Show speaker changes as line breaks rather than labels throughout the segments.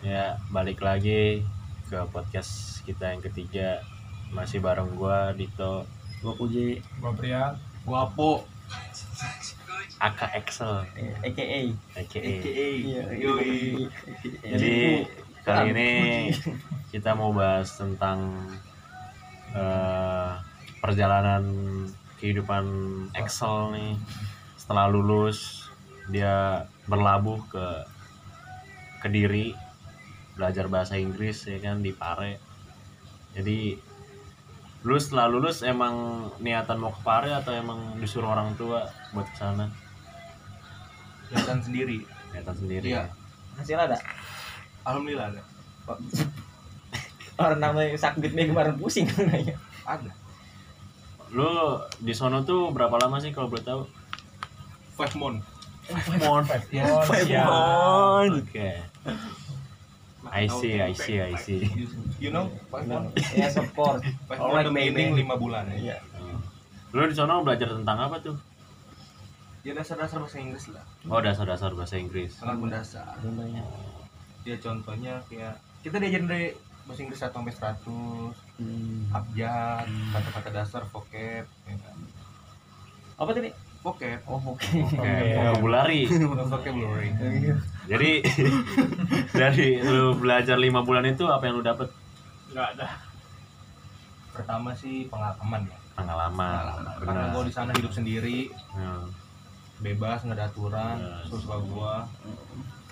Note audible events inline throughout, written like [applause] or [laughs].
Ya, balik lagi ke podcast kita yang ketiga. Masih bareng gua Dito
gua puji
Gua Brian,
Guapo.
Aka Excel, E.
eh, AKA
aka.
iya
Yoi.
AKA.
Jadi kali
Kan,
ini
puji.
kita mau bahas tentang eh, perjalanan kehidupan Excel nih. Setelah lulus, dia berlabuh ke Kediri, belajar bahasa Inggris ya kan di Pare. Jadi lu setelah lulus emang niatan mau ke Pare atau emang disuruh orang tua buat ke sana?
Kelihatan sendiri.
Niatan sendiri.
Iya.
hasil ada
Alhamdulillah ada.
orang namanya sakit nih kemarin pusing kan nanya
Ada.
Lu di sono tuh berapa lama sih kalau boleh tahu?
Five month.
Mon.
Yon,
Five
Sian.
month.
Oke. I see, I see, I see.
You know, five month.
ya support
Five
Alright,
month the meaning
baby.
lima bulan
iya
ya.
Lu di sono belajar tentang apa tuh?
Ya dasar-dasar bahasa Inggris lah.
Oh, dasar-dasar bahasa Inggris.
Sangat mendasar.
contohnya
Ya contohnya kayak kita diajarin dari bahasa Inggris 1 sampai 100,
Hmm.
abjad, kata-kata dasar, vocab, ya kan.
apa tadi
Vocab,
oh oke
Kayak vocabulary.
vocabulary.
Jadi dari lu belajar lima bulan itu apa yang lu dapet?
Nggak ada.
Pertama sih pengalaman ya.
Pengalaman.
Karena
Benar.
gua di sana hidup sendiri,
Hmm.
bebas, nggak ada aturan,
Yes.
suka gua,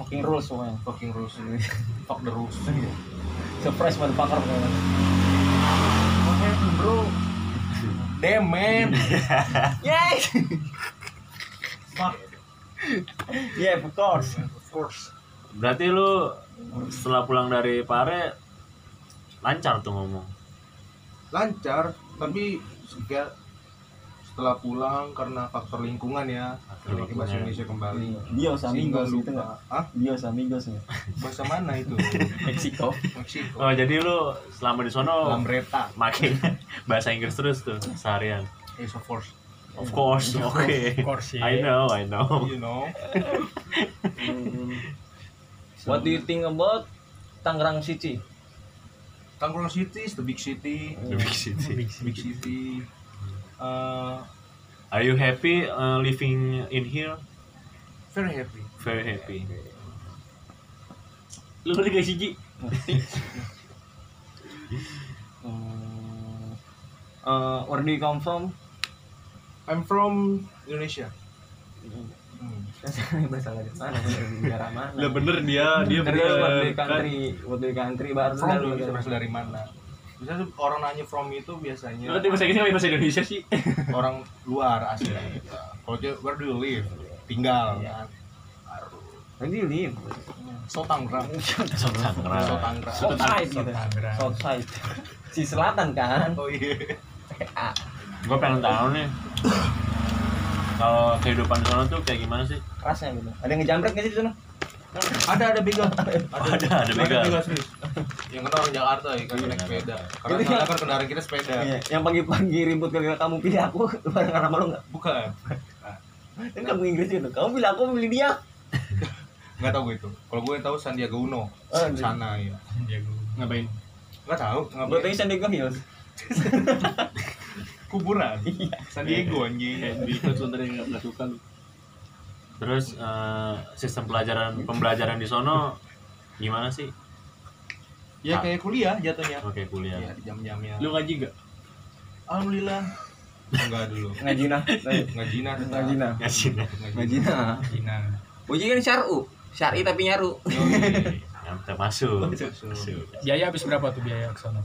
fucking rules semuanya
fucking rules, [laughs] Iya. fuck the rules.
surprise motherfucker pokoknya.
Oke, bro. Damn man.
yay
Fuck.
yeah of course
Force.
Berarti lu setelah pulang dari Pare lancar tuh ngomong.
Lancar, tapi segar setelah pulang karena faktor lingkungan ya
Faktor
memiliki bahasa
lingkungan. Iya.
Indonesia kembali
Dios
sehingga
amigos gitu nggak
lupa ah
Dios amigos ya
bahasa mana
[laughs]
itu
Meksiko
Meksiko
Oh, jadi lu selama di sono
Lambreta
makainya [laughs] bahasa Inggris terus tuh seharian.
is of force
Of course, oke.
Of course, ya.
I know, I know.
you know
Hmm. what do you think about Tangerang City
Tangerang City is the big city
The big city.
Big
big city
Hmm.
uh,
Are you happy uh, living in here?
very happy
Very happy. Lu ngerti gak sih, Ji?
Hmm. Uh, where do you come from?
I'm from Indonesia
[laughs]
Hmm.
Hmm.
bahasa dari mana? Dari negara mana?
Lah bener dia, dia kan?
Dari what do you country, what do you country baru
from
dari
dulu bisa
negara.
berasal dari mana biasanya orang nanya from itu biasanya
Lu ngerti bahasa Inggris apa bahasa Indonesia sih?
orang luar asli kalau dia where do you live tinggal kan
Where do you live?
so Tangerang
Sok sangkra.
so Tangerang
South side gitu. South side. Si selatan kan?
oh iya
PA.
Gue pengen tahu nih. Kalau kehidupan di sono tuh kayak gimana sih?
Kerasnya gitu. Ada yang ngejamret nggak sih di sana?
ada ada begal ada
ada, ada begal.
serius yang kena orang Jakarta ya kan naik
Iya.
sepeda karena
Itu
soalnya kan kendaraan kita sepeda
Iya. Yang pagi-pagi ribut gara kamu pilih aku, [laughs] bareng sama lu nggak?
bukan
Kan kamu Inggris gitu. Kamu pilih aku, aku pilih dia.
nggak tahu gue itu kalau gue tahu Sandiaga Uno
Oh, iya.
sana ya
Ngapain?
nggak tahu
Gue tadi
ngapain
San Diego Hills.
kuburan San Diego
Iya.
anjing
Kayak di coach sebentar yang nggak suka lu.
Terus eh, sistem pelajaran pembelajaran di sono gimana sih?
ya kayak kuliah jatuhnya
Oke, kuliah.
ya jam-jamnya
Iya. Lu ngaji nggak?
alhamdulillah enggak dulu
[laughs] Ngajina.
ngajina tetap.
Ngajina.
Ngajinya.
ngajina ngajina
Uji kan syar'u. Syar'i tapi nyaru.
Yoi.
Iya, Yang masuk.
Masuk.
Masuk.
Biaya habis berapa tuh biaya ke sana?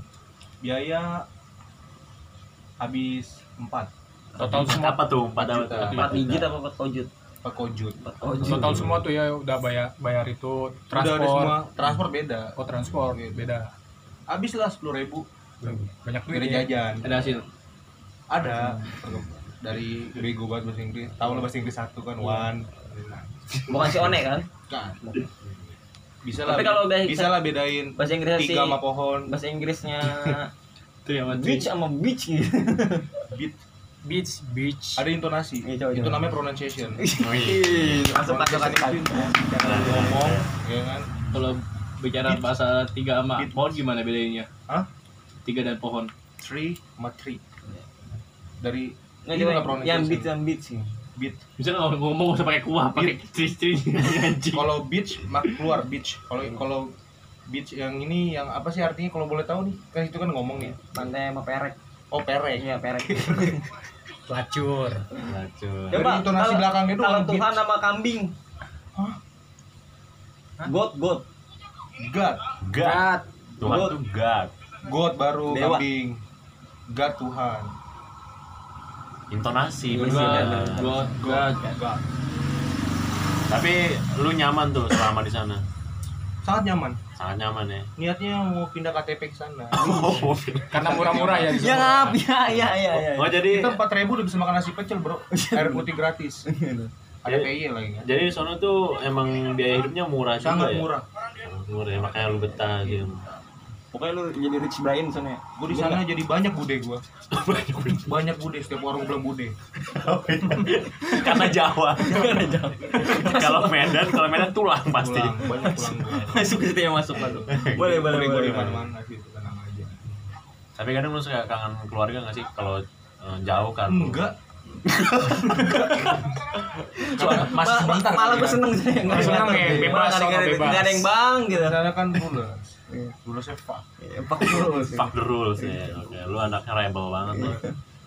biaya habis empat
Total
Empat
semua.
apa tuh? Empat apa tuh?
Empat
Empat digit apa empat kojut?
Pak Kojut
Empat kojut.
Total semua tuh ya udah bayar bayar itu
Udah ada semua
transport.
transport beda
Oh transport beda.
habis lah sepuluh ribu Iya.
Banyak duit.
dari
ya.
jajan
Ada hasil.
ada dari bego banget bahasa Inggris tahu lah bahasa Inggris satu kan one
Bukan si One kan?
kan bisa lah
Tapi kalau bahasa-
bisa lah bedain
Bahasa Inggrisnya si
tiga sama pohon
bahasa Inggrisnya
Itu yang
beach sama beach gitu.
beat
Beach, beach.
ada intonasi
Iya, coba,
itu
coba.
namanya pronunciation
[laughs]
Wih.
Iya, Masuk masuk masuk.
Pronunciation itu. ngomong ya kan
Kalau
Iya bicara bahasa tiga sama
Beach.
pohon gimana bedanya?
Hah?
Tiga dan pohon.
tree sama tree dari
Nggak,
Ini
coba
nggak ya. pronunciation.
yang beach yang beach sih.
beat
Bisa nggak ngomong usah pakai kuah, pakai ciri-ciri
[laughs]
anjing.
kalau beach mak keluar beach kalau kalau beach yang ini yang apa sih artinya kalau boleh tahu nih kan itu kan ngomong ya
Iya, Pantai sama perek.
oh perek
Iya, perek.
pelacur
Racun.
dari
Coba,
intonasi
kalau-
belakangnya itu
Kalau Tuhan nama kambing.
Hah?
God, God.
god
God. Tuhan
God.
tuh God.
god baru
Dewa.
kambing god Tuhan
Intonasi
Iya,
benar.
benar, benar.
Gua gua
god
Tapi lu nyaman tuh selama di sana.
sangat nyaman
Sangat nyaman ya.
niatnya mau pindah KTP ke sana
Oh,
karena murah-murah ya di
Ya,
sana.
[laughs] ya, ya, ya, ya.
oh jadi
kita empat ribu udah bisa makan nasi pecel bro air putih gratis
Gitu.
ada PY lagi kan
jadi di sana tuh emang biaya hidupnya murah juga
sangat
ya.
murah
Murah ya, makanya lu betah gitu.
Pokoknya lu jadi Rich Brian di sana ya.
gue di sana jadi banyak bude gue banyak bude setiap warung bilang bude
Karena Jawa. kalau Medan, kalau Medan tulang pasti.
pulang banyak pulang gue
[laughs]
Masuk ke situ ya masuk masuk. Boleh, boleh,
bude gue
boleh.
di mana mana gitu tenang aja
Tapi kadang lu suka kangen keluarga nggak sih kalau eh, jauh kan?
enggak
Coba,
Mas,
ma- ma-
sebentar,
malah gue
kan?
seneng sih. Nggak ada-
Seneng ya,
nggak ada-
bebas,
nggak ada- nggak ada-
bebas.
nggak ada yang bang gitu.
karena kan bulas bulasnya fuck
Ya, Pak terus.
Fuck the rules ya. Oke, lu anaknya rebel banget tuh.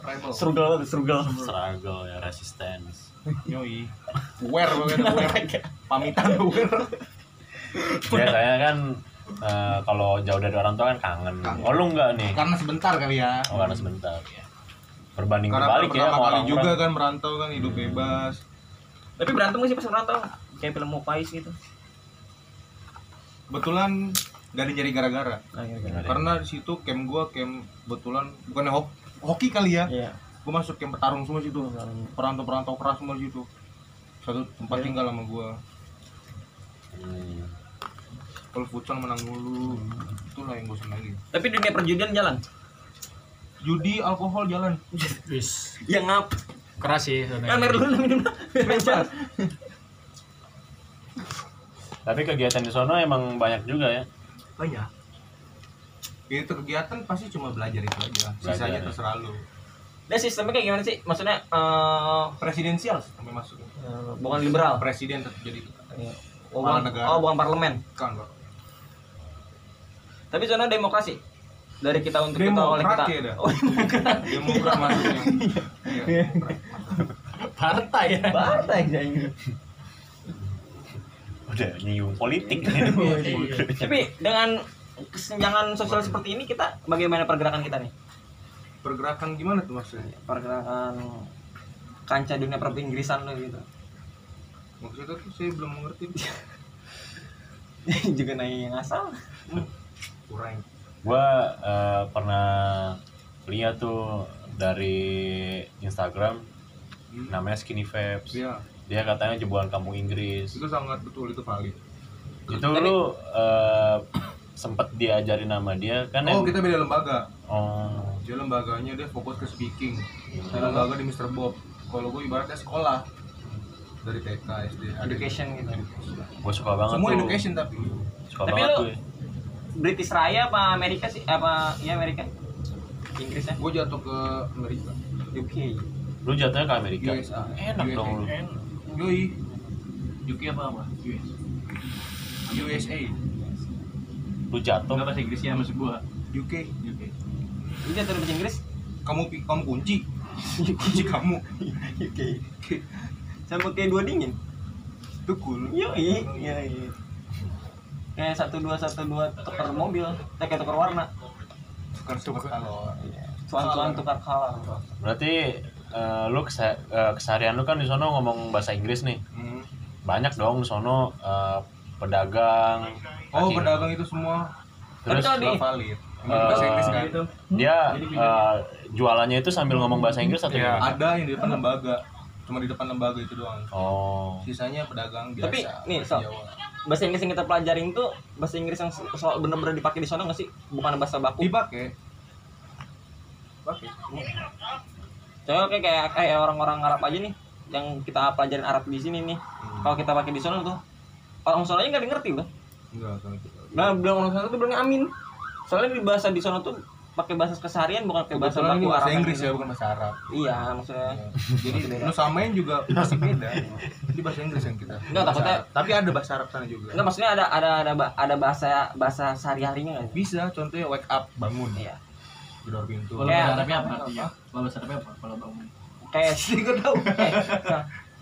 rebel
Struggle banget, struggle.
Struggle ya, resistance.
yoi wear pokoknya wear pamitan wear
Ya saya kan eh, kalau jauh dari orang tua kan kangen.
Kangen.
Oh lu enggak nih?
karena sebentar kali ya
Oh karena sebentar. Berbanding
karena
balik ya
pertama
sama
kali
orang
juga kan merantau kan hidup bebas
Tapi berantem nggak sih pas berantem? Kayak film Mopais gitu.
kebetulan gak ada nyari gara-gara
Nah, gitu.
ya.
karena di situ camp gua camp kebetulan bukan hok- hoki kali ya
Iya.
gua masuk camp petarung semua situ perantau-perantau keras semua situ satu tempat tinggal sama gua
Hmm.
kalau futsal menang mulu itulah yang gua senengin
Tapi dunia perjudian jalan.
judi alkohol jalan
Wis,
Ya ngap.
keras sih sana.
Kan mer lu minum. [laughs] Bebas.
Tapi kegiatan di sono emang banyak juga ya.
banyak itu kegiatan pasti cuma belajar itu aja sisanya
Belajar, ya.
terserah lu
Nah sistemnya kayak gimana sih? Maksudnya eh
presidensial sampai masuk
eh, bukan liberal.
presiden tetap jadi
Iya. Oh, bukan,
Kepala negara.
oh, bukan parlemen.
kan bro
Tapi zona demokrasi. Dari kita untuk kita oleh
Demokrat
kita.
ya dah.
Oh,
demokrat masuknya iya demokrat.
partai
iya.
ya
partai jadi.
Udah nyinggung politik.
Iya,
Iya,
Tapi dengan kesenjangan sosial seperti ini kita bagaimana pergerakan kita nih?
pergerakan gimana tuh maksudnya
Pergerakan kancah dunia perpinggrisan lo gitu. [laughs]
maksudnya tuh saya belum mengerti
Juga naik yang asal.
kurang
gua eh, pernah lihat tuh dari Instagram namanya Skinny Vibes.
Hmm. iya
Dia katanya jemuan kampung Inggris.
itu sangat betul itu valid
Itu lu eh, sempet diajarin nama dia kan
oh
yang-
kita beda lembaga
Oh.
dia lembaganya dia fokus ke speaking di
Ah.
lembaga di Mr. Bob kalau gue ibaratnya sekolah dari TK SD ada
Education gitu.
Gue suka banget
semua
tuh.
education tapi
Suka
Tapi
banget
lu-
gue.
British Raya apa Amerika sih? Apa ya Amerika? Inggris ya?
gue jatuh ke Amerika
UK.
Lu jatuhnya ke Amerika.
USA
Enak
USA.
dong lu.
Yoi
Yuki apa apa? US.
USA
Lu jatuh.
Enggak bahasa Inggrisnya maksud gua.
UK
UK.
Ini jatuh Iya, bahasa Inggris?
kamu pi- kamu kunci [laughs] kunci kamu
[laughs] UK. Sama kayak dua dingin.
tukul
Yoi, yoi. Kayak satu dua satu dua tukar mobil, eh, kayak tukar warna.
tukar tukar kalau
Cuan-cuan tukar color.
Berarti eh, lu kese- eh, keseharian lu kan di sono ngomong bahasa Inggris nih.
Hmm.
Banyak dong di sono eh, pedagang.
oh
kaki-
pedagang itu semua
Tapi
Terus
kalau di
nggak valid Emang
Eh,
bahasa Inggris kan
gitu.
dia eh, jualannya itu sambil ngomong bahasa Inggris atau
Iya.
gimana?
ada yang di depan lembaga cuma di depan lembaga itu doang
Oh.
sisanya pedagang biasa
Tapi, nih,
bahasa
Sok.
Jawa.
Bahasa Inggris yang kita pelajarin tuh bahasa Inggris yang so- so- bener-bener dipakai di sana nggak sih? Bukan bahasa baku.
dipakai pakai
Soalnya kayak kayak, kayak orang-orang Arab aja nih
Hmm.
yang kita pelajarin Arab di sini nih. Kalau kita pakai di sana tuh orang soalnya nggak ngerti loh.
Enggak, gitu. kalau kita.
Nah, bilang orang sana tuh bilangnya amin. Soalnya di bahasa di sana tuh pakai bahasa keseharian bukan pakai bahasa
Kebetulan ini
baku
bahasa
Arab.
Inggris ya, bukan bahasa Arab.
Iya, [laughs] maksudnya. ya.
Jadi lu samain juga pasti beda. Ini bahasa Inggris yang kita.
Enggak,
Bahasa
takutnya-
Arab. tapi ada bahasa Arab sana juga.
Enggak maksudnya ada ada ada ba- ada bahasa bahasa sehari-harinya nggak sih?
Bisa contohnya wake up, bangun.
Iya.
Gedor pintu.
Kalau
Kayak-
bahasa Arabnya apa artinya? Kalau bahasa Arabnya apa? Kalau bangun.
[laughs]
Kayak sih gue tahu.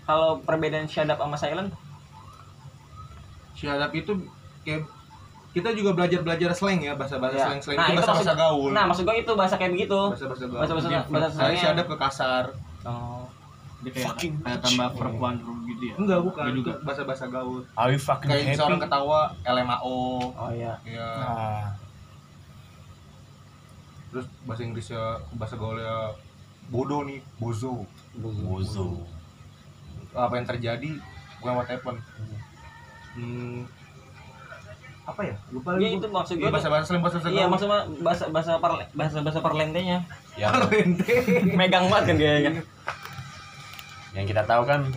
Kalau perbedaan shut up sama silent
Syadab itu kayak kita juga belajar-belajar slang ya, bahasa-bahasa
Iya.
slang-slang
Nah,
itu
itu
bahasa-bahasa gaul.
Nah, maksud gue itu bahasa kayak begitu.
bahasa-bahasa gaul.
bahasa-bahasa-
Jadi,
bahasa
kayak
slangnya-
Syadab ke kasar.
Oh.
Dia kayak
Fucking
kayak
bitch.
tambah perempuan gitu ya.
Enggak, bukan.
Dia juga.
Bahasa-bahasa gaul.
Are you fucking
Kayak
happy?
misalnya orang ketawa LMAO.
Oh iya.
Iya.
Nah.
Ah.
Terus bahasa Inggrisnya bahasa gaulnya bodoh nih, bozo.
Bozo.
apa yang terjadi bukan what happened hmm. apa ya lupa
Iya
lagi
itu maksud gue.
Iya, bahasa bahasa selain bahasa bahasa
Iya,
[laughs]
maksudnya bahasa bahasa parle, bahasa bahasa perlentenya.
Yang
[laughs] Megang banget kan kayaknya.
yang kita tahu kan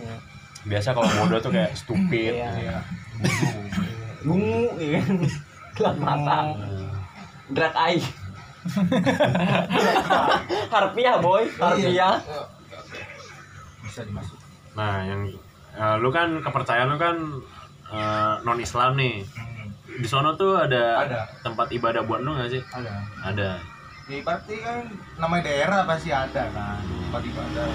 biasa kalau bodoh tuh kayak stupid.
Iya.
Iya.
Dungu iya. [laughs] Gelap mata. Drag [laughs] eye. Harpiah boy, harpiah.
bisa dimasuk
Nah, yang eh, lu kan kepercayaan lu kan non Islam nih. Di sono tuh ada,
Ada.
tempat ibadah buat lu nggak sih?
ada
Ada.
ya pasti kan namanya daerah pasti ada kan tempat ibadah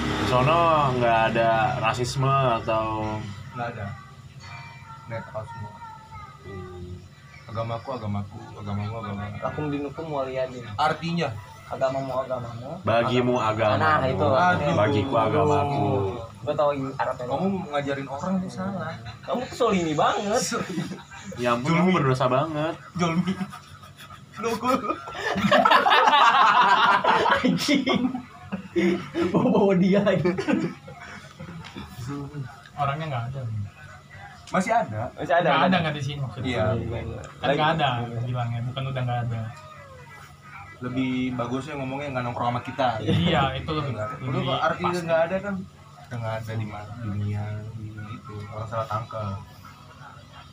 Di sono nggak ada rasisme atau
nggak ada netral semua agamaku agamaku agamamu agamamu
Lakum dinukum waliyadin.
artinya
Agamamu agamamu.
bagimu
Nah,
agamamu,
itu.
bagiku agamamu.
Gue tau ini Arabnya.
kamu ngajarin orang ini salah
Kamu tuh solimi banget.
Ya ampun, kamu berdosa banget.
jolmi dukul
[laughs] Anjing. Bawa bawa dia lagi.
Orangnya nggak ada.
masih ada
Masih
Nggak
ada.
ada nggak di sini maksudnya.
iya
Kan nggak ada, bilangnya bukan udah nggak ada.
lebih bagusnya ngomongnya nggak nongkrong sama kita
Iya itu lebih.
Lu
lebih
kok arti
pas.
nggak ada kan? Nggak ada di mana dunia itu orang salah tangkap.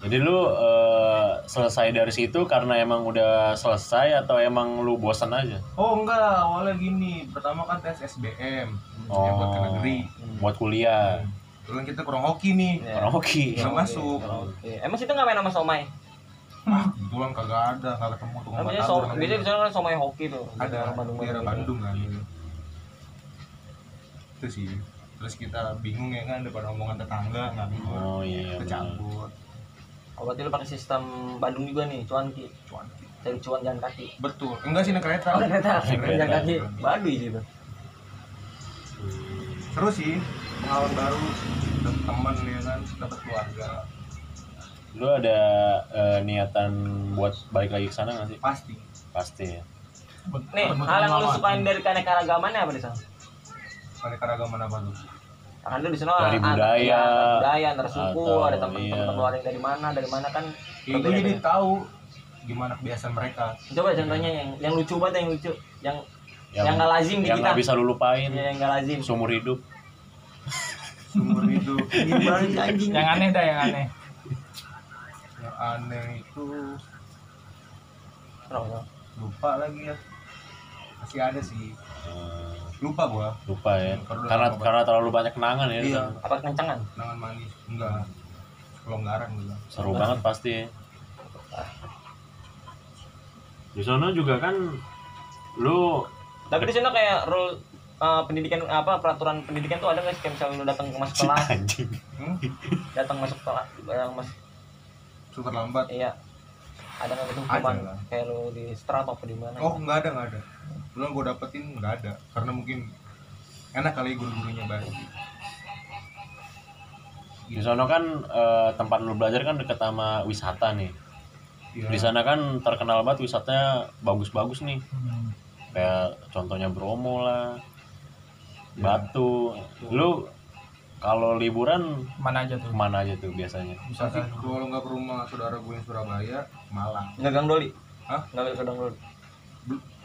Jadi lu eh, selesai dari situ karena emang udah selesai atau emang lu bosen aja?
Oh enggak, awalnya gini. Pertama kan tes SBM
Oh.
yang buat ke negeri.
buat kuliah.
Terus kan kita kurang hoki nih.
Iya.
Orang hoki.
Nggak masuk.
Oke. Emang situ nggak main sama somai?
Kebetulan kagak ada, kagak ketemu tuh
Kan biasanya so- biasanya di sana kan somai hoki tuh.
ada
Orang Bandung.
gitu. di daerah Bandung kan. Itu sih. Terus kita bingung ya kan depan omongan tetangga nggak bingung.
Oh iya.
Kita
benar.
campur.
Oh, berarti lu pakai sistem Bandung juga nih, cuan ki.
Cuan.
Cari cuan jalan kaki.
Betul. Enggak sih naik kereta.
Oh, ternyata
Naik kereta.
jalan kaki. Baduy gitu.
seru sih pengalaman baru dapet teman ya kan dapet keluarga
Lu ada eh, niatan buat balik lagi ke sana nggak sih?
pasti
Pasti ya.
Nih, hal yang lu sukain dari keanekaragamannya apa di sana?
mereka agama apa tuh
Kan lu di sana
Dari
ada-
budaya,
iya, ada budaya antar suku,
atau-
ada teman-teman
iya.
keluarga yang dari mana, dari mana kan.
ya, gue jadi tahu gimana kebiasaan mereka
Coba contohnya yang yang lucu banget yang lucu, yang
Yang-
yang nggak lazim
Yang
di kita.
nggak bisa lu lupain
Iya, yang nggak lazim.
seumur hidup.
seumur
[laughs]
hidup
Balik anjing.
Yang aneh dah yang aneh.
yang aneh itu
Kenapa?
lupa lagi ya masih ada sih
Eh,
lupa gua
lupa ya.
Iya,
Perlu
Karena
apa-apa.
karena terlalu banyak kenangan ya.
iya
Apa kencangan?
kenangan manis enggak pelonggaran gitu
Seru banget pasti.
Ah.
Di sana juga kan lu
Tapi di sana kayak rule eh, pendidikan apa peraturan pendidikan tuh ada nggak sih kayak misalnya lu datang ke masuk kelas
anjing.
hmm?
datang masuk kelas datang masuk
super lambat
iya ada nggak itu
Ada
hukuman
lah.
kayak lu di strap apa di mana
oh enggak ada enggak ada belum gua dapetin enggak ada karena mungkin enak kali ya guru-gurunya baik
Di sana kan eh, tempat lu belajar kan deket sama wisata nih.
Iya.
Di sana kan terkenal banget wisatanya bagus-bagus nih.
Hmm.
kayak contohnya Bromo lah Batu lu kalau liburan
Mana aja
[laughs]
tuh?
kemana aja tuh biasanya
Tapi
Misalkan
kalau nggak ke rumah saudara gue yang Surabaya, Malang.
nggak gang doli
Hah?
nggak bisa gang doli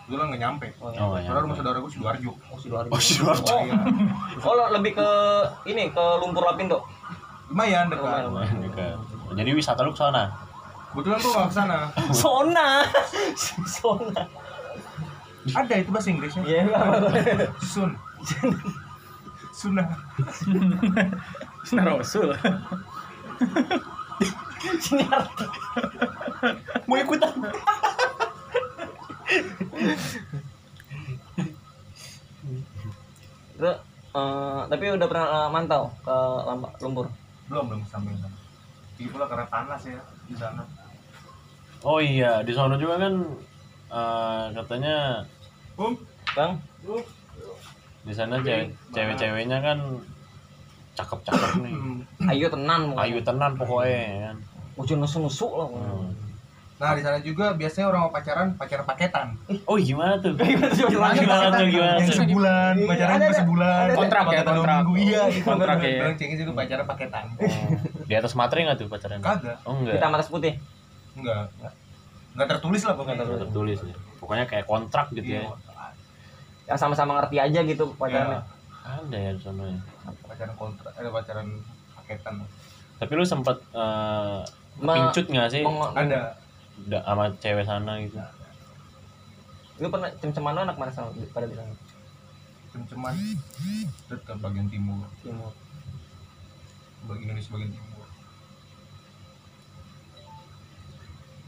Gue lah nggak nyampe.
oh, iya.
oh ya
Saudara rumah saudara gue sidoarjo.
oh sidoarjo
[laughs] oh [laughs] Sidoarjo.
Iya.
oh lo lebih ke ini ke lumpur lapindo Lumayan,
Lumayan dekat.
lumayan.
Dekat. jadi wisata Gitu. lu ke sana
Kebetulan gua nggak kesana.
[laughs] Sona. Sona.
Ada itu bahasa Inggrisnya.
Iya, nggak apa-apa.
Sun. Sunah.
Nah, Narosul.
Sini Arti. Mau ikutan. Itu, eh, tapi udah pernah eh, mantau ke Lampa- lumpur.
Belum belum sampai sana. Lagi pula karena panas ya di sana.
Oh iya, di sana juga kan eh, katanya
Um.
Bang,
di sana cewek- cewek-ceweknya kan cakep-cakep nih.
ayo tenan mau.
Ayu tenan pokoknya ya kan.
Ujung nusu-nusu lah. pokoknya.
Hmm.
Nah di sana juga biasanya orang mau pacaran pacaran paketan.
Oh gimana tuh?
Eh,
Gimana
Iya,
sih, Bang?
Gimana tuh, gimana
Yang Iya,
tuh?
sebulan, pacaran
Ada,
cuma
ada.
sebulan.
Ada, ada.
Kontrak ya,
Paketan dua
kontrak.
minggu, Iya gitu.
Kontrak ya.
Bang Cengiz itu pacaran paketan.
Oh, Di atas materi nggak tuh pacaran?
Kagak.
Oh enggak.
Hitam atas putih.
Enggak. enggak. Enggak tertulis lah pokoknya.
Nggak tertulis ya. Pokoknya kayak kontrak gitu ya.
Iya.
Yang sama-sama ngerti aja gitu pacarnya.
Iya.
Ada ya di sana ya.
pacaran kontrak ada pacaran paketan
Tapi lu sempet eh
Me-
pincut nggak sih
Meng-
ada
da- sama cewek sana gitu?
Lu pernah cem-ceman lu anak mana sama pada bilang
cem-ceman Deket ke bagian timur
timur.
bagian Indonesia bagian timur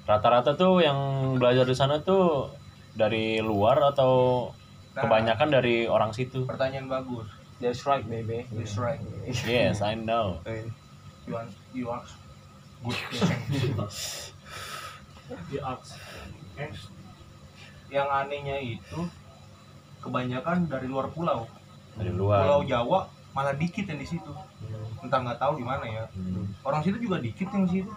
Rata-rata tuh yang belajar di sana tuh dari luar atau
Nah,
kebanyakan dari orang situ?
pertanyaan bagus
That's right, baby.
that's right
Yes, I know.
[laughs]
you are you are good question.
Di arts.
yang anehnya itu kebanyakan dari luar pulau
Dari
pulau
luar.
Jawa malah dikit yang di situ entah nggak tahu gimana ya
Hmm.
orang situ juga dikit yang di situ Iya.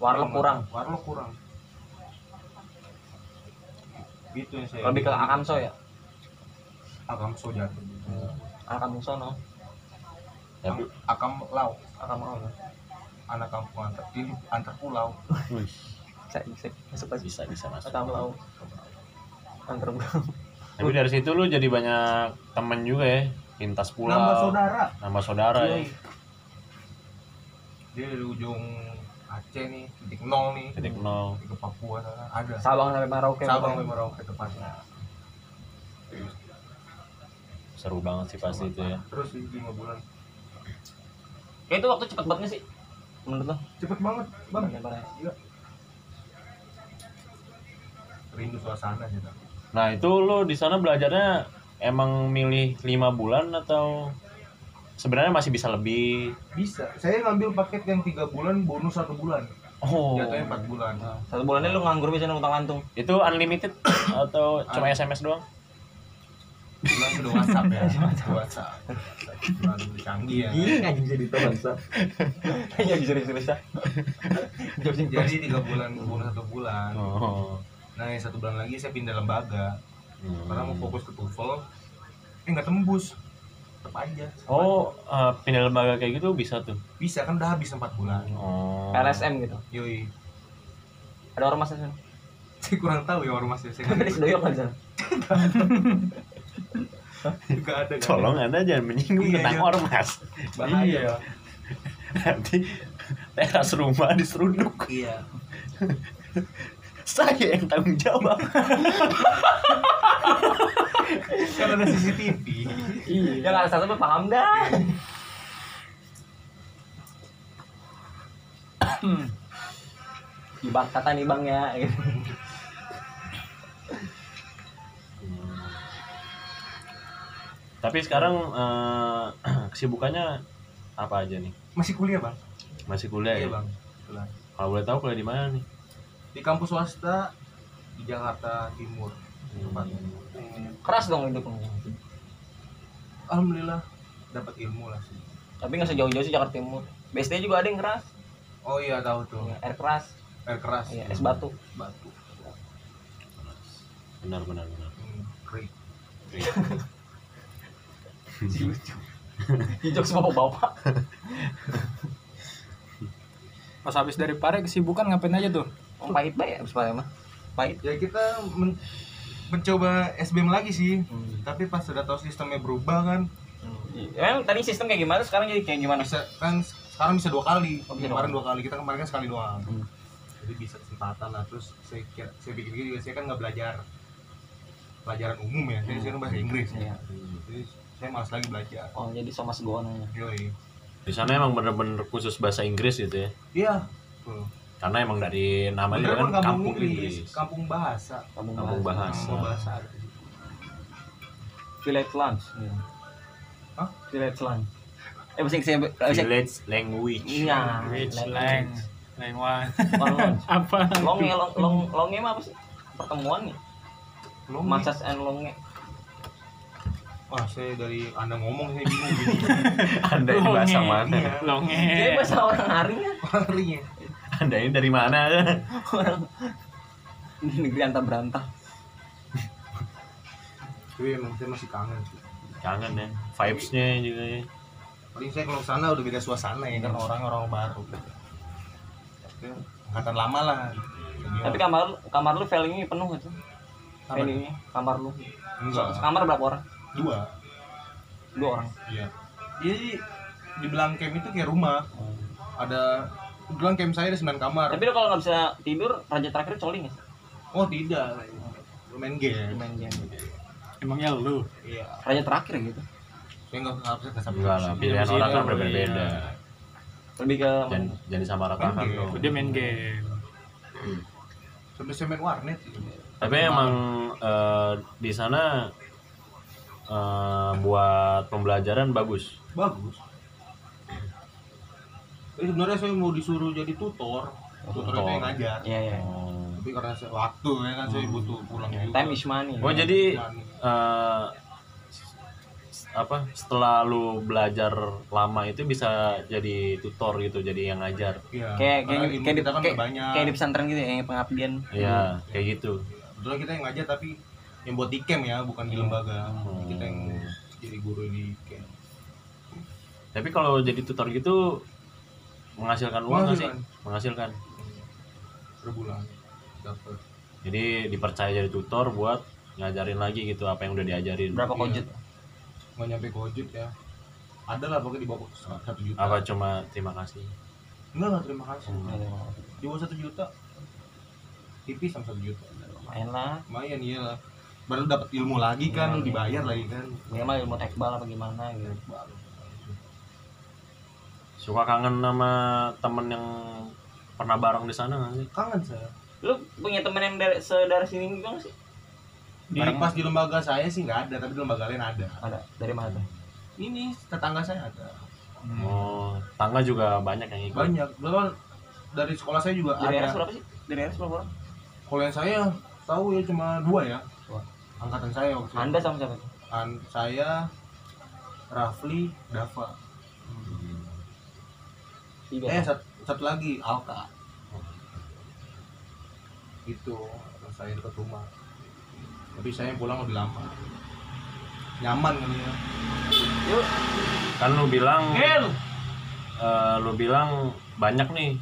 Warlock kurang.
warlock kurang gitu yang saya
Lebih ke Akamso ya.
akam sojati
Akam sono.
Tapi,
akam lau
Akam ono.
anak kampung antar ini antar pulau
wih,
Bisa bisa masuk lagi.
bisa bisa masuk.
Akam lau. Antar
Tapi dari situ lu jadi banyak temen juga ya, lintas pulau.
nambah saudara Iya.
Nambah saudara ya.
Yoi. dia dari ujung Aceh nih titik nol nih
Titik nol.
ke Papua sana ada
Sabang sampai Merauke.
Sabang sampai Merauke tepatnya
Seru banget sih pasti itu ya.
terus sih lima bulan
Kayak itu waktu cepet banget sih. Menurut lo?
cepet banget bang
Banyak banget.
rindu suasana sih tapi
Nah itu lu di sana belajarnya emang milih lima bulan atau sebenarnya masih bisa lebih?
bisa saya ngambil paket yang tiga bulan bonus satu bulan
Oh,
jatuhnya empat bulan
Ah.
Satu bulannya lu nganggur bisa utang lantung.
itu unlimited atau cuma
Un-
SMS doang?
bulan sudah WhatsApp
[laughs]
ya sudah WhatsApp bulan canggih ya
Iya.
anjing bisa ditelan sa. Iya bisa ditelan sa.
jadi tiga bulan bonus satu bulan
Oh.
nah yang satu bulan lagi saya pindah lembaga
Hmm.
karena mau fokus ke TOEFL eh nggak tembus tetap aja
Oh, eh, pindah lembaga kayak gitu bisa tuh.
bisa kan udah habis empat bulan
Oh.
LSM gitu.
yoi [laughs]
Ada ormasnya [laughs] sana.
saya kurang tahu ya ormasnya saya
Ada [laughs] sedoyok kan sana.
juga ada kan
Tolong Anda jangan menyinggung
Iya,
tentang
iya.
ormas. [laughs]
bahaya
Nanti teras rumah diseruduk.
iya
Saya yang tanggung jawab.
kan ada CCTV
Ya nggak ada satu paham dah. [coughs] Ibang kata nih bang ya. gitu.
Tapi sekarang eh, [clears throat] kesibukannya apa aja nih?
masih kuliah bang
Masih kuliah
iya
ya?
bang Kebetulan.
Kalau boleh tahu kuliah di mana nih?
di kampus swasta di Jakarta Timur Tempatnya.
Keras dong hidup lu.
alhamdulillah dapat ilmu lah sih
Tapi nggak sejauh-jauh sih Jakarta Timur. BSD juga ada yang keras,
oh iya tahu tuh
Iya, air keras,
air keras
iya, es batu. [laughs]
batu
Benar benar benar.
Hmm, kering
Hijau semua bapak.
Pas habis dari pare kesibukan ngapain aja tuh?
Om pahit banget ya, abis pahit mah. Pahit.
ya kita men- mencoba SBM lagi sih
Hmm.
tapi pas sudah tahu sistemnya berubah kan
Emang tadi sistem kayak gimana? Sekarang jadi kayak gimana?
bisa kan sekarang bisa dua kali
Oh, bisa dua
kemarin
kali.
dua kali kita kemarin kan sekali doang jadi bisa kesempatan lah terus saya kira- saya pikir juga saya kan nggak belajar pelajaran umum ya jadi saya kan bahasa Inggris
Iya.
jadi saya malas lagi belajar
Oh, jadi sama segoan
ya,
aja.
Yoi.
Di sana emang bener-bener khusus bahasa Inggris gitu ya.
iya tuh
Karena emang dari namanya juga
bener
kan
kampung,
kampung
Inggris,
Inggris.
kampung bahasa
Kamu
Kampung bahasa.
kampung bahasa ada di situ.
Village lunch. Iya.
Hah?
Village lunch.
Eh bisa bisa bisa.
Village language.
Iya.
Village
Lang-
lunch. Lain
[laughs]
one.
Long lunch.
Apa?
Longnya long long longnya mah apa sih? Pertemuan nih.
Lo
Masas and longnya.
wah saya dari anda ngomong saya [laughs] bingung
[laughs] Anda ini bahasa
Oh, iya.
Longe.
mana?
ya.
Eh.
Jadi
Longe.
bahasa orang Aring ya.
gini ya
Anda ini dari mana? [laughs]
orang di negeri antah berantah.
tapi emang saya masih kangen sih
Kangen ya. Vibes-nya juga ya.
paling saya kalau kesana udah beda suasana ya kan orang orang baru Ya, angkatan lama lah
Tapi
kan-
kamar lu- kamar lu value-nya penuh gitu.
Apa?
Value-nya kamar lu.
enggak
Kamar berapa orang?
dua
Dua orang.
iya jadi di Blangkem itu kayak rumah ada di Blangkem saya ada 9 kamar
Tapi lu kalau nggak bisa tidur, raja terakhir calling ya.
oh tidak Lu main game
Main game.
Emangnya lu?
iya
Raja terakhir gitu.
saya nggak harusnya nggak
Enggak lah, pilihan
Iya,
orang kan
iya.
berbeda-beda.
Lebih ke
Jangan, jangan disamaratakan
Iya.
dong.
Dia main game.
sampai saya main warnet sih.
Tapi emang eh, di sana eh, buat pembelajaran bagus.
bagus tapi sebenarnya saya mau disuruh jadi tutor tutor itu yang ngajar
Iya, iya.
Oh.
tapi karena saya waktu ya kan saya butuh pulang juga
Time is money.
Hmm.
Oh jadi
Dan
eh, s- apa setelah lu belajar lama itu bisa jadi tutor gitu jadi yang ngajar
Iya.
kayak kayak
Karena ilmu
kayak di,
kita kan
kayak,
nggak banyak.
kayak di pesantren gitu ya yang pengabdian
ya kayak gitu
Kebetulan kita yang ngajar tapi yang buat di camp ya, bukan
Iya.
di lembaga.
Hmm.
Kita yang jadi guru di camp.
tapi kalau jadi tutor gitu menghasilkan uang nggak sih menghasilkan
kan? Per bulan dapat.
jadi dipercaya jadi tutor buat ngajarin lagi gitu apa yang udah diajarin
berapa
Iya.
kojut
Nggak nyampe ke ojek ya. Ada lah pokoknya di bawah satu juta.
apa cuma terima kasih
Enggak lah terima kasih.
Hmm.
Di bawah satu juta. Tipis sama satu juta.
lumayan lah
Lumayan iya lah. Baru dapat ilmu lagi kan,
Iya,
dibayar
iya.
lagi kan.
minimal ilmu tekbal apa gimana gitu
Baru.
suka kangen sama temen yang pernah bareng di sana nggak sih
Kangen saya.
lu punya temen yang dari saudara sini juga nggak sih
Di, pas di lembaga saya sih nggak ada, tapi di lembaga lain ada.
ada dari mana tuh
Ini tetangga saya ada.
oh tangga juga banyak yang ikut
Hmm. banyak bahkan dari sekolah saya juga
dari RS
ada
berapa sih dari RS berapa orang
kalau yang saya tahu ya cuma dua ya
Wah.
angkatan saya waktu itu.
anda sama siapa tuh?
An- saya Rafli Dava
tiga
eh sat- satu lagi Alka itu angkatan saya dekat rumah tapi saya pulang lebih lama nyaman kali ya
kan lu bilang eh, lu bilang banyak nih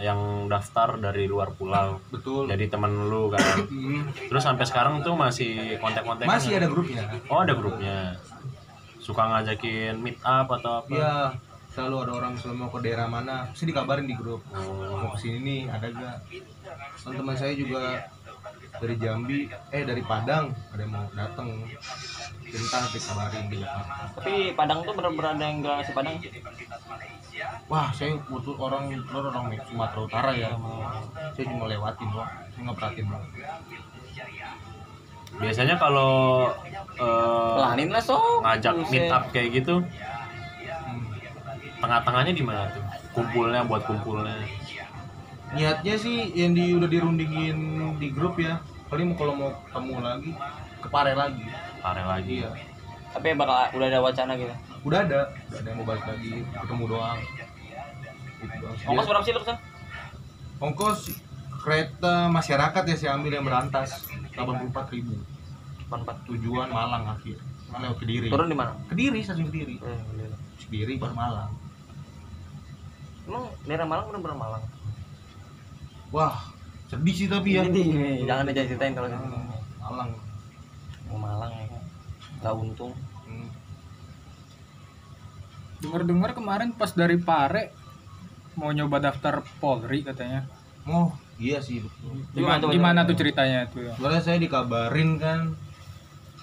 yang daftar dari luar pulau
betul
jadi temen lu kan
Hmm.
terus sampai sekarang tuh masih kontak-kontak
masih ada grupnya
oh ada grupnya suka ngajakin meet up atau apa
Iya, selalu ada orang selalu mau ke daerah mana, pasti dikabarin di grup.
Oh.
Mau kesini nih, ada gak? Teman teman saya juga dari Jambi, eh dari Padang, ada yang mau datang. Bentar dikabarin di Jakarta.
tapi Padang tuh bener-bener ada yang gak si Padang
Wah, saya butuh orang keluar orang Sumatera Utara ya. Saya cuma lewatin doang, saya nggak perhatiin doang.
biasanya kalau eh,
pelanin lah so
ngajak meet up kayak gitu
Hmm.
tengah-tengahnya di mana tuh kumpulnya buat kumpulnya
Niatnya sih yang di udah dirundingin di grup ya. Paling kalau mau ketemu lagi, ke Pare lagi.
pare lagi
Iya,
tapi bakal udah ada wacana gitu
udah ada, udah ada yang mau balik lagi, ketemu doang. Gitu doang.
ongkos berapa sih lu kesana?
ongkos kereta masyarakat ya saya ambil yang berantas 84.000
Empat empat
tujuan Malang akhir Malang lewat Kediri
turun di mana
Kediri stasiun Kediri
Eh, bener.
Kediri baru Malang
emang daerah Malang bener-bener Malang
wah sedih sih tapi ya
Ini, ini, ini. jangan aja ceritain kalau gitu.
Hmm, Malang
Mau Malang ya kan gak untung
Hmm.
Dengar-dengar kemarin pas dari Pare mau nyoba daftar Polri katanya.
oh Iya sih betul.
Gimana
Gimana,
tuh? ya?
gimana tuh ceritanya tuh?
Soalnya saya dikabarin kan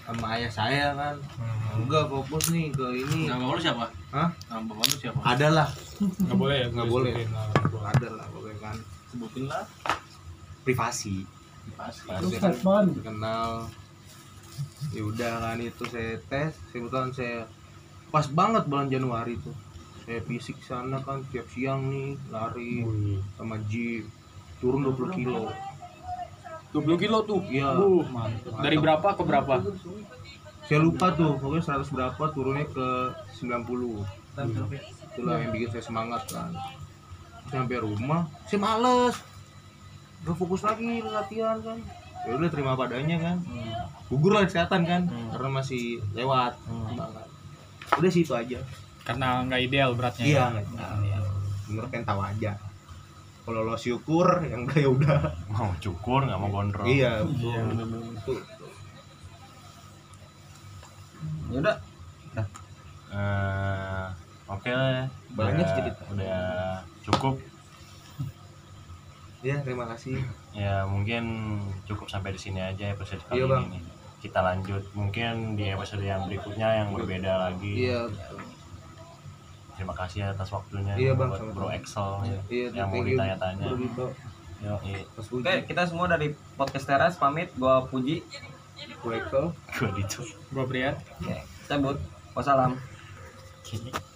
sama ayah saya kan.
Hmm,
Enggak fokus nih ke ini.
Nama lu siapa?
Hah?
Nama bapak lu siapa?
Adalah,
Nggak boleh ya?
Nggak boleh.
disebutin lah.
adalah pokoknya kan
Sebutin lah.
privasi.
Pasti.
Terus
Terus kapan?
kenal ya udah kan itu saya tes kebetulan saya pas banget bulan Januari tuh saya fisik sana kan tiap siang nih lari sama gym turun 20 kilo
20 kilo tuh.
Iya.
Uh, mantap. Dari berapa ke berapa?
saya lupa tuh pokoknya 100 berapa turunnya ke 90 itulah yang bikin saya semangat kan sampai rumah saya males gak fokus lagi latihan kan ya udah terima padanya kan gugur lah kesehatan kan karena masih lewat
Hmm.
banget. udah sih itu aja
Karena nggak ideal beratnya.
iya nggak tahu ya. bener pengen tahu aja kalau lo syukur yang enggak ya udah
mau cukur nggak mau gondrong
iya
ya.
itu ya udah
Eh, oke lah ya.
Banyak
Udah-
cerita.
udah cukup
ya terima kasih
ya mungkin cukup sampai di sini aja episode kali
Iya, Bang.
ini nih. kita lanjut mungkin di episode yang berikutnya yang berbeda lagi
iya
terima kasih atas waktunya
Iya, Bang,
buat
sama-sama.
Bro Excel
iya
yang mau
thank you.
ditanya-tanya
Bro Dito,
Yo, iya.
Mas
Oke,
Uji,
kita semua dari podcast teras pamit. Gua puji,
Bro Excel.
gua gitu
Gua Brian.
cabut. Wassalam.
Kini.